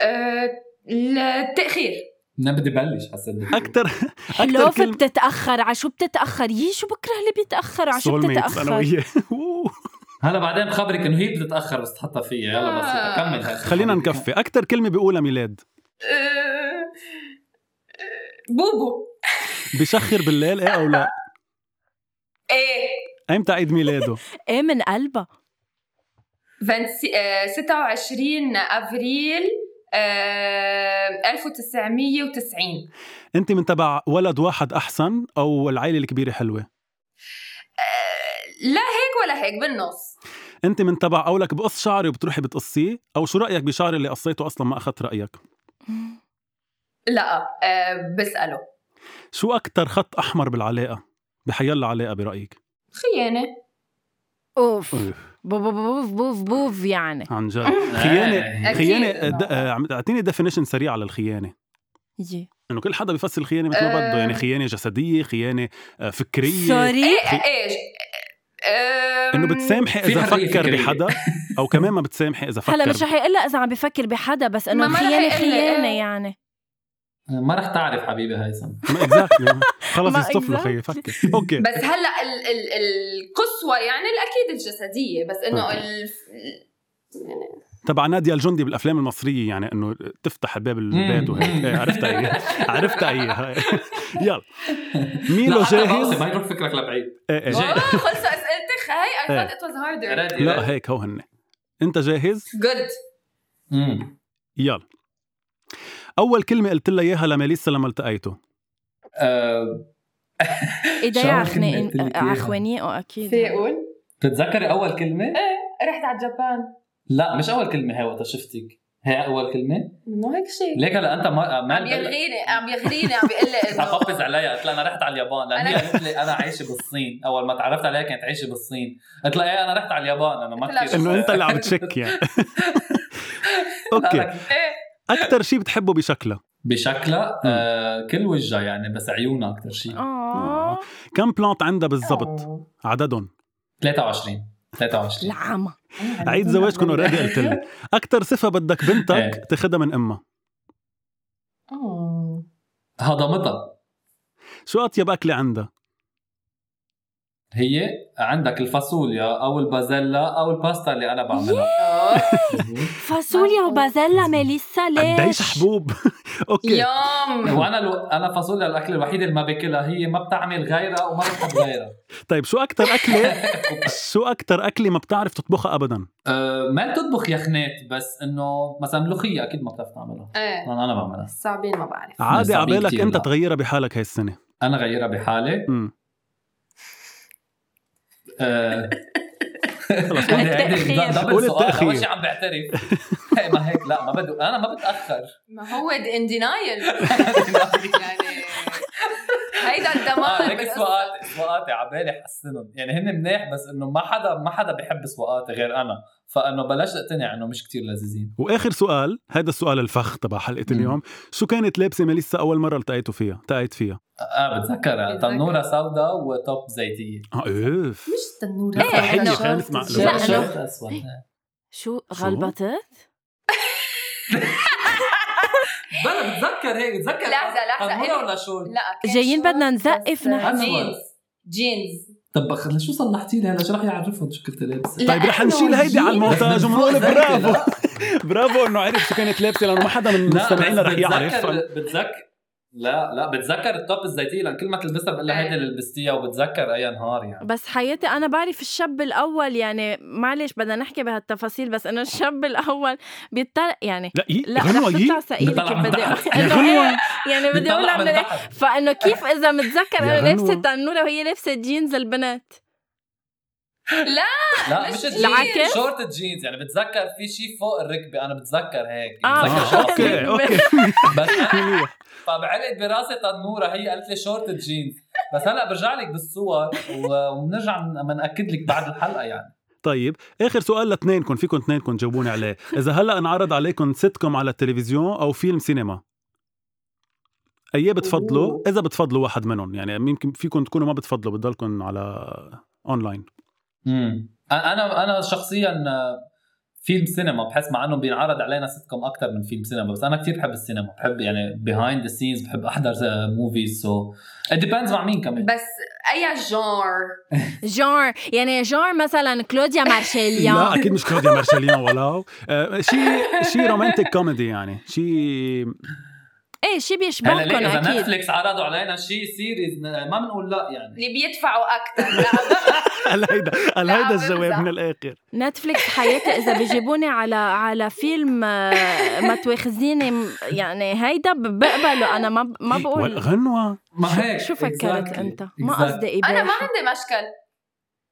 آه، التاخير
انا بدي بلش حسيت بدي أقول.
أكتر
حلو
أكتر كلمة
بتتأخر عشو بتتأخر يي شو بكره اللي بيتأخر عشو
soulmates أنا
بتتأخر
وياه أوه.
هلا بعدين بخبرك انه هي بتتاخر بس تحطها فيا يلا بس
آه.
اكمل هيك.
خلينا نكفي أكتر كلمة بيقولها ميلاد
آه، آه، بوبو
بشخر بالليل إيه أو لا
ايه
أيمتى عيد ميلاده
ايه من قلبها
20 آه، 26 افريل آه، 1990
أنت من تبع ولد واحد أحسن أو العيلة الكبيرة حلوة
آه، لا هيك ولا هيك بالنص
أنت من تبع قولك بقص شعري وبتروحي بتقصيه أو شو رأيك بشعري اللي قصيته أصلا ما أخذت رأيك
لا آه، بسأله
شو أكتر خط أحمر بالعلاقة بحيالله علاقة برأيك
خيانة
اوف
أوف.
بوف بوف بوف بوف يعني
عن جد خيانة
إيه.
أكيد.
خيانة د- آه، عم- أعطيني ديفينيشن سريع على الخيانة
يي
انه كل حدا بيفسر الخيانه مثل ما
آه.
بده يعني خيانه جسديه خيانه آه، فكريه
سوري
ايه ايش آه،
انه بتسامحي
في
اذا
حرية
فكر
فكرية.
بحدا او كمان ما بتسامحي اذا فكر
هلا مش رح يقلها اذا عم بفكر بحدا بس
ما-
انه
ما رح
خيانه
يقلها،
خيانه
إيه.
يعني
ما رح تعرف حبيبي هيثم
ما اكزاكتلي خلص
ما
يصطفلوا خيي
exactly.
فكر اوكي
بس هلا ال ال القصوى يعني الاكيد الجسديه بس انه ال
تبع نادية الجندي بالافلام المصريه يعني انه تفتح باب البيت
مم.
وهيك إيه، عرفتها هي عرفتها هي يلا
لا
ميلو
حتى
جاهز
بوصي، ما يروح فكرك لبعيد
إيه، إيه.
جاي.
اوه خلصوا اسئلتك آه، هاي اي
إيه.
ثوت ات واز هاردر
رادي
لا هيك هو هن انت جاهز
جود
امم
يلا اول كلمه قلت لها اياها لميليسا لما التقيته
آه،
ايديا
شو
على
كلمة قلت لك
خناقين-
إياها؟
على خوانيقه اكيد
في اقول
بتتذكري اول كلمه؟
إيه. رحت على جابان
لا مش اول كلمه هي وقتها شفتك هي اول كلمه
انه هيك شيء
ليك هلا انت ما آه، ما
عم يلغيني عم يغريني عم بيقول لي انه
حقفز عليها قلت لها انا رحت على اليابان لان هي قالت لي انا عايشه بالصين اول ما تعرفت عليها كانت عايشه بالصين قلت لها ايه انا رحت على اليابان انا
قلت لها
ما كثير
انه انت اللي عم تشك يعني اوكي
إيه.
اكثر شيء بتحبه بشكلها
بشكلها آه كل وجهها يعني بس عيونها اكثر شيء
اه
كم بلانت عندها بالضبط عددهم
23 23
العمى
عيد زواجكم اوريدي قلت لك اكثر صفه بدك بنتك
إيه.
تاخذها من امها
آه.
هضمتها
شو اطيب اكله عندها
هي عندك الفاصوليا او البازيلا او الباستا اللي انا بعملها
فاصوليا وبازيلا ميليسا ليش؟
قديش حبوب اوكي
يوم
وانا الو... انا فاصوليا الاكل الوحيد اللي ما باكلها هي ما بتعمل غيرها وما بتحب غيرها
طيب شو اكثر اكله شو اكثر اكله ما بتعرف تطبخها ابدا
أه ما بتطبخ يخنات بس انه مثلا ملوخيه اكيد ما بتعرف تعملها
ايه
انا انا بعملها
صعبين ما بعرف
عادي
صعبين
عبالك
كتير، إيه.
انت
لا.
تغيرها بحالك هاي السنه
انا غيرها بحالي
امم
أه...
قول
عندي- عندي
التأخير.
دبل
قول
سؤال.
التأخير.
أول شي عم بعترف هي ما هيك لا ما بدو انا ما بتاخر
ما هو ان دينايل يعني هيدا
آه،
الدمار
هيك
بالقصة.
سواقاتي سواقاتي عبالي حسنهم يعني هن منيح بس انه ما حدا ما حدا بيحب سواقاتي غير انا فانه بلشت اقتنع انه مش كتير لذيذين
واخر سؤال هذا السؤال الفخ تبع حلقه
مم.
اليوم شو كانت لابسه ميليسا اول مره التقيتوا فيها التقيت فيها
اه بتذكرها
بتذكر.
تنوره سوداء وتوب زيتيه
اه اوف
مش تنورة
لا،
إيه،
تحية
إنه-
خالص معقولة.
لا، إنه-
شورت اسود
شو
شو؟
غلبتت؟
بلا بتذكر هيك بتذكر
لحظة، لحظة،
تنورة
هيك-
ولا شورت
لا كان
جايين
شورت
بدنا نزقف
بس
نحن.
جينز جينز
طب أخ- شو صلحتي لي هلا شو رح يعرفهم شو كنت لابسه
طيب رح
لأنه
نشيل هيدي على
جينز.
المونتاج ونقول
بتذكر،
برافو
لا.
برافو انه عرف شو كانت لابسه لانه ما حدا من
لا
مستمعينا
بس
رح يعرف
بتذكر بتذكر لا لا بتذكر التوب الزيتيه لان كل ما تلبسها بقول لها
إيه.
هيدي اللي لبستيها وبتذكر اي نهار يعني
بس حياتي انا بعرف الشاب الاول يعني معلش بدنا نحكي بهالتفاصيل بس انه الشاب الاول بيطلع يعني
لا يي
لا
غنوة
رح
يي
تطلع ثقيله
بيطلع
كيف
من
بدي
تحت.
إنه
غنوة.
إيه، يعني بدي اقول
بتطلع من
اعمل
تحت.
فانه كيف اذا متذكر
يا
انا لابسه
غنوة.
تنوره وهي لابسه جينز البنات
لا
مش
مش
جينز.
العكس؟
الجينز شورت الجينز يعني بتذكر في شيء فوق الركبه انا بتذكر هيك
آه،
بتذكر
آه،
بتذكر.
اوكي اوكي
بس فبعلق براسي تنوره هي قالت لي شورت الجينز بس هلا برجع لك بالصور و- وبنرجع من- بنأكد لك بعد الحلقه يعني
طيب اخر سؤال لاثنينكم فيكم اثنينكم تجاوبوني عليه اذا هلا انعرض عليكم ستكم على التلفزيون او فيلم سينما ايه بتفضلوا اذا بتفضلوا واحد منهم يعني يمكن فيكم تكونوا ما بتفضلوا بتضلكم على اونلاين
امم انا انا شخصيا آه، فيلم سينما بحس مع انه بينعرض علينا ستكم اكثر من فيلم سينما بس انا كثير بحب السينما بحب يعني بيهايند ذا سينز بحب آه، احضر موفيز سو ات ديبيندز مع مين كمان
بس اي جور
جار يعني جار مثلا كلوديا
لا
مارشيليان
اكيد مش كلوديا مارشاليان ولا شيء شيء رومانتيك كوميدي يعني شيء
إيه،
ايه شي
هلا ليك
بيشبهكم
اذا
اكيد
نتفليكس عرضوا علينا شيء سيريز ما بنقول لا يعني
اللي بيدفعوا اكثر لا
هل هيدا هل
لا،
هيدا
عم بمزح.
الجواب من الاخر
نتفليكس حياتي اذا بيجيبوني على على فيلم آه، ما تواخذيني م- يعني هيدا ب- بقبله انا ما ب- ما
ولا-
بقول
غنوة
ما هيك
شو فكرت
exactly.
انت ما
exactly.
قصدي
انا ما
إباحة.
عندي مشكل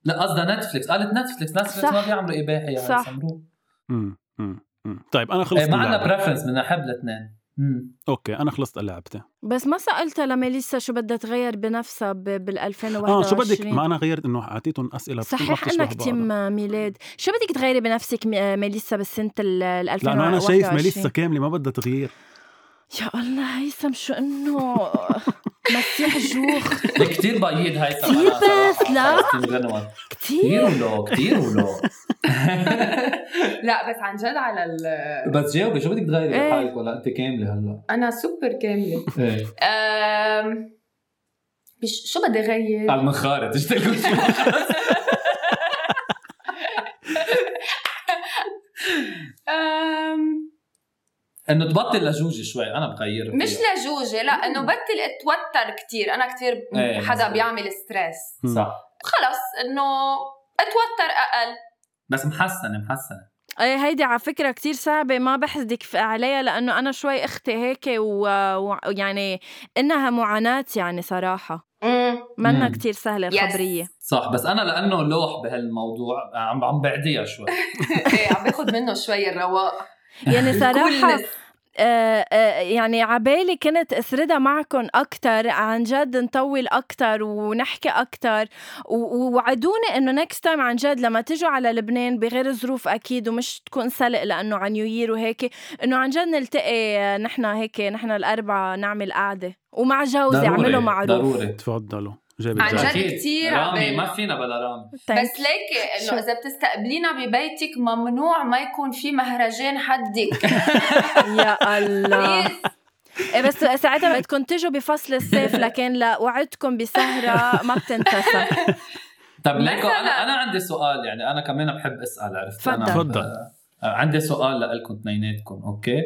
لا قصدها نتفليكس قالت نتفليكس نتفليكس
صح.
ما بيعملوا اباحي يعني
صح.
سمروه
مم، مم، مم. طيب انا خلصت
ايه ما عندنا
اللعبة.
بريفرنس بنحب الاثنين
اوكي انا خلصت لعبتي
بس ما سالتها لميليسا شو بدها تغير بنفسها بال 2021
اه شو بدك ما انا غيرت انه اعطيتهم اسئله
صحيح انك تم ميلاد شو بدك تغيري بنفسك م- ميليسا بالسنه ال 2021
لانه انا شايف ميليسا كامله ما بدها تغيير
يا الله هيثم شو انه مسيح جوخ
كثير بيض هاي
كتير بس، لا. كثير
كثير ولو كثير ولو
لا بس عن جد على ال-
بس جاوبي شو بدك تغيري
إيه.
بحالك ولا انت كامله هلا
انا سوبر كامله
ايه
أم، بش- شو بدي اغير؟
على المنخارة تشتغل شو
أم،
انه تبطل لجوجه شوي انا بغير
مش لجوجه لا انه بطل اتوتر كتير انا كتير
إيه،
حدا
مزبوط.
بيعمل ستريس
مم.
صح
خلص انه اتوتر اقل
بس محسنه محسنه
ايه هيدي على فكره كتير صعبه ما بحسدك ف- عليها لانه انا شوي اختي هيك و- و- ويعني انها معاناه يعني صراحه منا
مم.
كتير سهله
Yes.
الخبريه
صح بس انا لانه لوح بهالموضوع عم عم بعديها شوي
ايه عم باخذ منه شوي الرواق
يعني صراحه
coolness.
آه، آه، يعني عبالي كنت اسردها معكم اكثر عن جد نطول اكثر ونحكي اكثر ووعدوني انه نكست تايم عن جد لما تجوا على لبنان بغير ظروف اكيد ومش تكون سلق لانه عن نيو يير وهيك انه عن جد نلتقي آه، نحن هيك نحن الاربعه نعمل قعده ومع جوزي
ضروري،
اعمله معروف
ضروري
تفضلوا جايب
عن جد
الجاي
أكيد.
كتير
رامي
عبالي.
ما فينا بلا رامي
Thank
بس ليكي
شو؟
انه اذا بتستقبلينا ببيتك ممنوع ما يكون في مهرجان حدك
يا الله
بليز
إيه بس ساعتها بدكم تجوا بفصل الصيف لكن لوعدكم بسهره ما بتنتسى
طب طيب، ليكو
مثلاً.
انا انا عندي سؤال يعني انا كمان بحب اسال عرفت انا
تفضل.
تفضل.
آه، عندي سؤال لكم اثنيناتكم اوكي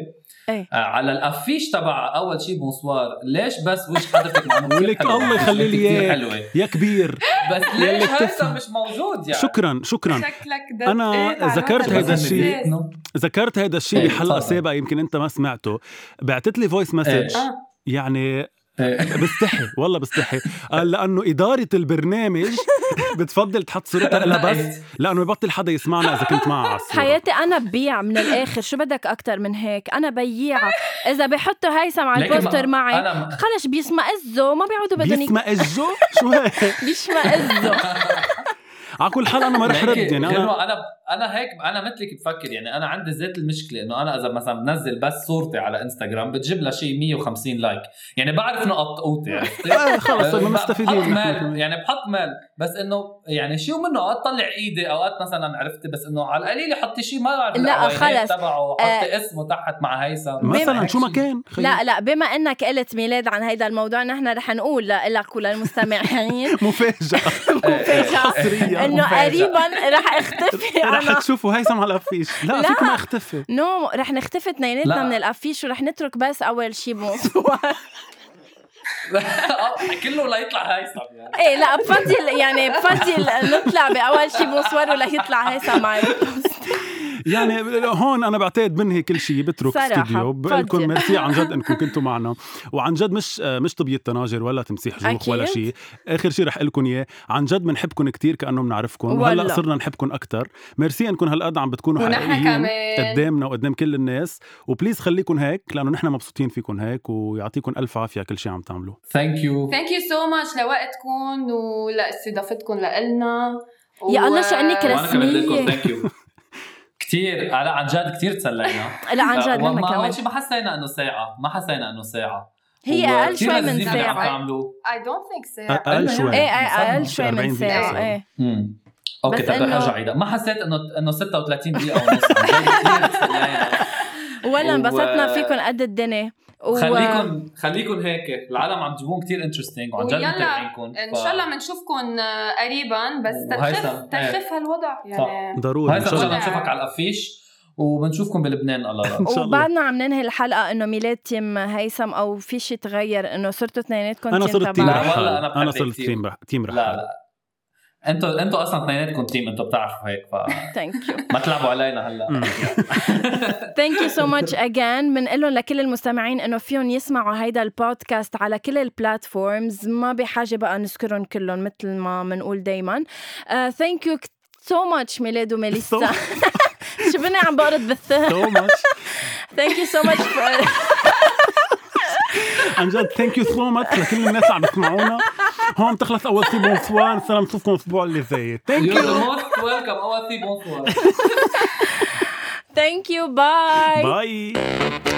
إيه.
آه، على الافيش تبع اول شيء بونسوار ليش بس وجه حضرتك معمول
ولك
حلو؟
الله يخلي لي
كتير
إياه.
حلوه
يا كبير
بس
يلي
ليش
بتفهم.
هذا مش موجود يعني
شكرا شكرا
شكلك
أنا ذكرت هيدا الشيء. ذكرت هذا الشيء
إيه،
بحلقه
تفضل.
سابقه يمكن انت ما سمعته بعتت لي فويس مسج
آه.
يعني
إيه.
بستحي والله بستحي قال لانه اداره البرنامج بتفضل تحط صورتها لها بس لانه يبطل حدا يسمعنا اذا كنت معها على الصورة.
حياتي انا ببيع من الاخر شو بدك اكثر من هيك انا بياعه اذا بحطوا هيثم على البوستر معي
انا
خلص بيسمأزوا ما بيعودوا بدهم يك-
بيسمع اجو شو هيك
بيشمأزوا
على كل حال انا ما رح رد يعني انا
انا انا انا هيك انا مثلك بفكر يعني انا عندي ذات المشكله انه انا اذا مثلا بنزل بس صورتي على انستغرام بتجيب لها شيء 150 لايك يعني بعرف انه قطقوطي عرفتي؟
آه، خلص ما
بحط
مستفيدين
مال يعني بحط مال بس انه يعني شو منه اوقات طلع ايدي اوقات مثلا عرفتي بس انه على القليله حطي شيء ما بعرف
لا،
العنوانات
خلص. آه،
تبعه حطي اسمه تحت مع هيثم
مثلا شو ما كان خيي.
لا لا بما انك قلت ميلاد عن هيدا الموضوع نحن رح نقول لك وللمستمعين
مفاجاه
مفاجأة.
حصرية
انه
مفاجأة.
قريبا رح اختفي
رح
انا
تشوفوا هيثم على الافيش لا,
لا.
فيك ما اختفي
نو رح نختفي
لا.
اثنيناتنا من الافيش ورح نترك بس اول شي بونسوار
آه، كله ليطلع هيثم يعني
ايه لا بفضل يعني بفضل نطلع باول شي بونسوار وليطلع هيثم معي
يعني هون انا بعتقد بنهي كل شيء بترك
صراحة.
استديو بقلكم
تفضل.
ميرسي عن جد انكم كنتوا معنا وعن جد مش مش طبية تناجر ولا تمسيح جوق
أكيد.
ولا شيء اخر شيء رح لكم اياه عن جد بنحبكم كثير كانه بنعرفكم وهلا
والله.
صرنا نحبكم اكثر ميرسي انكم هالقد عم بتكونوا
ونحن
حقيقيين
كمان.
قدامنا وقدام كل الناس وبليز خليكم هيك لانه نحن مبسوطين فيكم هيك ويعطيكم الف عافيه كل شيء عم تعملوه
ثانك يو
ثانك يو سو ماتش لوقتكم ولاستضافتكم لنا
يا الله شو انك
وانا كمان بدكم
رسميه
ثانك يو كثير على عن جد كثير تسلينا
لا عن جد
وما-
نحن كمان
اول شيء ما حسينا انه ساعه ما حسينا انه ساعه
هي اقل
وكتير
شوي من
لذيذ اللي عم
ساعه
تعملوه.
اي دونت ثينك سو
اقل شوي
ايه ايه اقل
مش
شوي من
40 دقيقة
ساعه
صار.
ايه
مم. اوكي
بس
طب رح
إنه-
ارجع عيدها ما حسيت انه انه 36 دقيقه ونص عن جد كتير تسلينا.
ولا
و-
انبسطنا فيكم قد الدنيا و-
خليكم خليكم هيك العالم عم تجيبون كثير انترستينج وعن جد
ويلا،
متابعينكم ف-
ان شاء الله بنشوفكم قريبا بس تخف
وهيثم، إيه.
تخف هالوضع يعني
ضروري
هيثم
ان
ان
شاء الله
شاء الله نشوفك على الافيش وبنشوفكم بلبنان الله يرحمه.
إن شاء الله.
وبعدنا عم ننهي الحلقه انه ميلاد تيم هيثم او في شيء تغير انه صرتوا اثنيناتكم
انا صرت تيم
لا،
رحال
والله أنا
انا
بحبك
صرت
كتير.
تيم رح- تيم رحال
لا لا انتوا انتوا اصلا اثنيناتكم تيم انتوا بتعرفوا هيك فما
ثانك يو
تلعبوا علينا هلا
مم.
ثانك يو سو ماتش اجين بنقول لهم لكل المستمعين انه فيهم يسمعوا هيدا البودكاست على كل البلاتفورمز ما بحاجه بقى نذكرهم كلهم مثل ما بنقول Uh, دائما ثانك يو سو ماتش ميلاد وميليسا شو بني عم بقرط بالثهر
سو ماتش
ثانك يو سو ماتش
عن جد ثانك يو سو ماتش لكل الناس اللي عم بتسمعونا هون طيب تخلص اول سي بونسوار صرنا بنشوفكم الاسبوع اللي جاي ثانك
You're
يو
the most welcome اول سي بونسوار
ثانك يو باي
باي